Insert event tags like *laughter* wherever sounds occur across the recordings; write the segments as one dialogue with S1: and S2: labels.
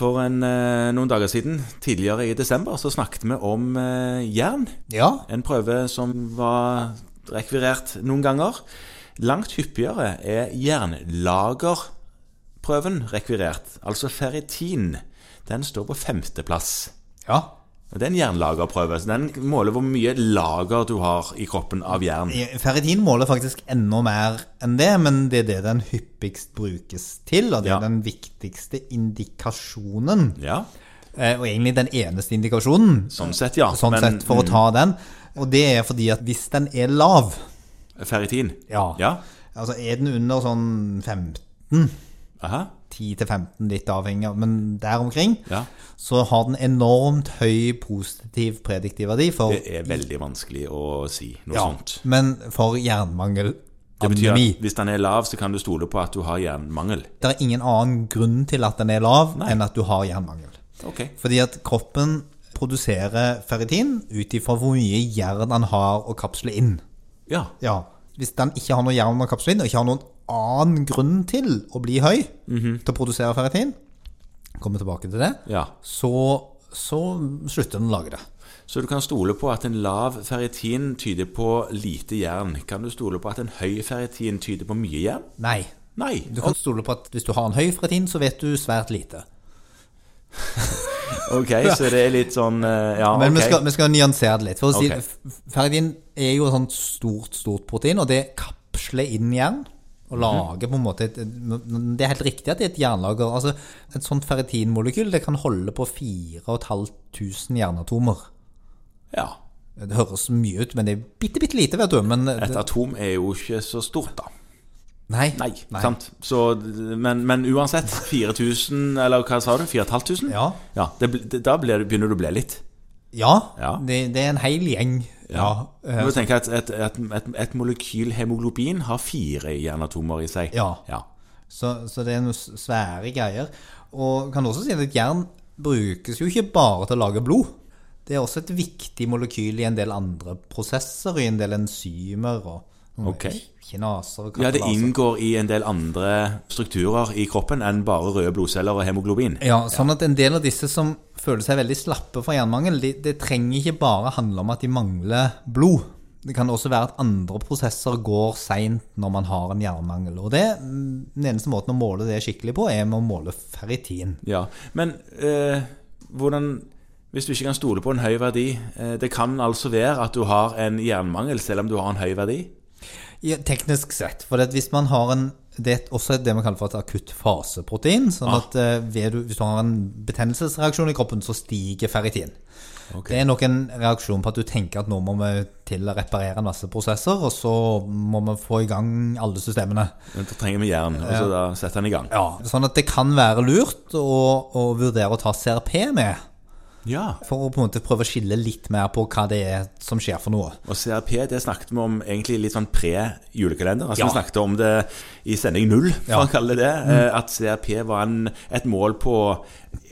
S1: For en, eh, noen dager siden, tidligere i desember, så snakket vi om eh, jern.
S2: Ja.
S1: En prøve som var rekvirert noen ganger. Langt hyppigere er jernlagerprøven rekvirert, altså ferritin. Den står på femteplass.
S2: ja.
S1: Og Det er en jernlagerprøve. så Den måler hvor mye lager du har i kroppen av jern.
S2: Ferritin måler faktisk enda mer enn det, men det er det den hyppigst brukes til, og det er
S1: Ja.
S2: den viktigste indikasjonen.
S1: Ja,
S2: Eh, Og egentlig den eneste indikasjonen,
S1: sånn sett, ja.
S2: sånn
S1: Men- mm.
S2: sett, for å ta den. Og det er fordi at hvis den er lav,
S1: Ferritin?
S2: Ja. altså er den under sånn 15,
S1: Aha.
S2: 10-15, litt avhengig av, men der omkring,
S1: Ja.
S2: så har den enormt høy positiv prediktiv verdi for
S1: Det er veldig vanskelig å si noe
S2: Ja,
S1: sånt.
S2: men for jernmangel
S1: Det betyr
S2: anemi.
S1: at hvis den er lav, så kan du stole på at du har jernmangel.
S2: Det er ingen annen grunn til at den er lav
S1: Nei.
S2: enn at du har jernmangel.
S1: Ok.
S2: Fordi at kroppen produserer ferritin ut ifra hvor mye jern han har å kapsle inn.
S1: Ja.
S2: Ja, Hvis den ikke har noe jern å kapsle inn, og ikke har noen annen grunn til å bli høy til å produsere ferritin, kommer tilbake til det,
S1: Mhm. ja.
S2: så, så slutter den å lage det.
S1: Så du kan stole på at en lav ferritin tyder på lite jern. Kan du stole på at en høy ferritin tyder på mye jern?
S2: Nei.
S1: Nei.
S2: Du kan stole på at hvis du har en høy ferritin, så vet du svært lite.
S1: *laughs* Ok, så det er litt sånn eh, Ja,
S2: Men vi, skal,
S1: ok.
S2: vi skal nyansere det litt. For å si,
S1: Ok.
S2: f- Ferritin er jo et sånt stort, stort protein, og det kapsler inn jern.
S1: Mhm.
S2: Og lager på en måte et, men Det er helt riktig at det er et jernlager. altså Et sånt ferritinmolekyl det kan holde på 4500 jernatomer.
S1: Ja.
S2: Det høres mye ut, men det er bitte, bitte lite, vet du. Men
S1: Et
S2: det,
S1: atom er jo ikke så stort, da.
S2: nei.
S1: Nei, sant. Så, men, men uansett, 4000, eller hva sa du? 4500?
S2: Ja.
S1: ja det, bl- det, da blir, det- begynner du å bli litt.
S2: Ja,
S1: Ja.
S2: Det, det er en hel gjeng. Ja.
S1: Du
S2: eh,
S1: må tenke at et, et, et, et molekyl hemoglobin har fire jernatomer i seg.
S2: Ja. Så, så det er noen s- svære greier. Og kan også si at jern brukes jo ikke bare til å lage blod. Det er også et viktig molekyl i en del andre prosesser, i en del enzymer og sånne
S1: Ok.
S2: kinaser og
S1: Ja, det
S2: katalaser.
S1: inngår i en del andre strukturer i kroppen enn bare røde blodceller og hemoglobin.
S2: Ja, sånn at en del av disse som føler seg veldig slappe for jernmangel, de- det trenger ikke bare handle om at de mangler blod. Det kan også være at andre prosesser går seint når man har en jernmangel. Og det, mm, den eneste måten å måle det skikkelig på, er med å måle ferritin.
S1: Ja, Men eh, hvordan Hvis du ikke kan stole på en høy verdi eh, Det kan altså være at du har en jernmangel selv om du har en høy verdi?
S2: Ja, teknisk sett. For at hvis man har en Det er også det man kaller for et akutt faseprotein. sånn
S1: Ah.
S2: at eh, ved, du- Hvis du har en betennelsesreaksjon i kroppen, så stiger ferritin.
S1: Ok.
S2: Det er nok en reaksjon på at du tenker at nå må vi til å reparere en masse prosesser, og så må vi få i gang alle systemene.
S1: Men Da trenger vi jern, og så da setter den i gang.
S2: Ja, Sånn at det kan være lurt å, å vurdere å ta CRP med,
S1: Ja.
S2: for å på en måte prøve å skille litt mer på hva det er som skjer for noe.
S1: Og CRP det snakket vi om egentlig litt sånn pre-julekalender. Altså
S2: Ja.
S1: Vi snakket om det i sending null, for
S2: Ja. Mm.
S1: å kalle det det. eh, At CRP var en, et mål på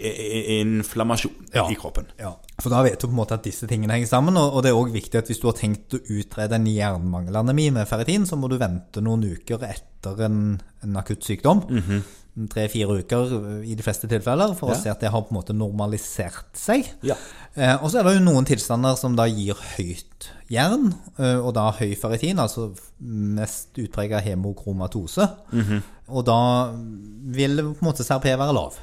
S1: i- i- inflammasjon
S2: Ja.
S1: i kroppen.
S2: Ja, for da vet du på en måte at disse tingene henger sammen, og, og det er òg viktig at hvis du har tenkt å utrede en jernmangelanemi med ferritin, så må du vente noen uker etter en, en akutt sykdom. Tre-fire uker ø, i de fleste tilfeller, for
S1: Mhm. Ja.
S2: å se at det har på en måte normalisert seg.
S1: Ja.
S2: Eh, og så er det jo noen tilstander som da gir høyt jern, eh, og da høy ferritin, altså mest utprega hemokromatose.
S1: Mhm.
S2: Og da vil på en måte CRP være lav.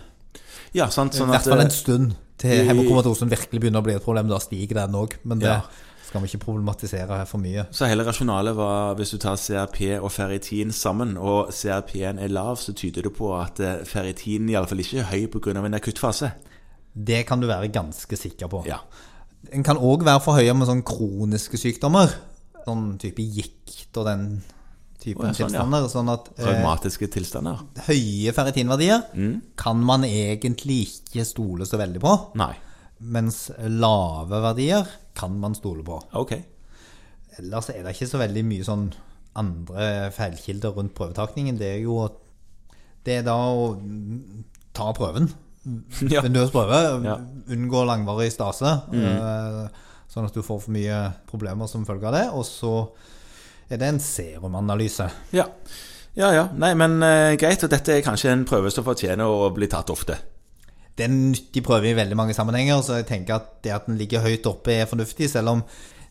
S1: Ja, sant? Sånn
S2: I
S1: at,
S2: hvert fall en
S1: eh,
S2: stund til
S1: i-
S2: hemokromatose virkelig begynner å bli et problem. Da stiger den òg, men det
S1: Ja.
S2: skal vi ikke problematisere her for mye.
S1: så hele rasjonalet var hvis du tar CRP og ferritin sammen, og CRP-en er lav, så tyder det på at eh, ferritin iallfall ikke er høy pga. en akutt fase.
S2: Det kan du være ganske sikker på.
S1: Ja.
S2: En kan òg være forhøya med sånn kroniske sykdommer. Sånn type gikt og den typen
S1: Å, ja, sånn, ja.
S2: tilstander. Sånn at eh,
S1: Traumatiske tilstander.
S2: høye ferritinverdier
S1: Mm.
S2: kan man egentlig ikke stole så veldig på.
S1: Nei.
S2: Mens lave verdier kan man stole på.
S1: Ok. *laughs*
S2: Ellers er det ikke så veldig mye sånn andre feilkilder rundt prøvetakningen. Det er jo at det er da å ta prøven.
S1: Ja.
S2: En løs prøve.
S1: Ja. Mm.
S2: Unngå langvarig stase. eh, Sånn at du får for mye problemer som følge av det. Og så er det en serumanalyse.
S1: Ja. Ja, ja. Nei, men eh, greit. Og dette er kanskje en prøve som fortjener å bli tatt ofte.
S2: Det er en nyttig prøve i veldig mange sammenhenger, så jeg tenker at det at den ligger høyt oppe er fornuftig, selv om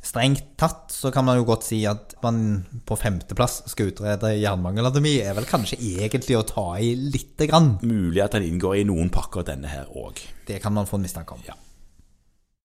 S2: strengt tatt så kan man jo godt si at man på femteplass skal utrede jernmangelademi, er vel kanskje egentlig å ta i lite grann.
S1: Mulig at den inngår i noen pakker, denne her òg.
S2: Det kan man få en mistanke om.
S1: Ja.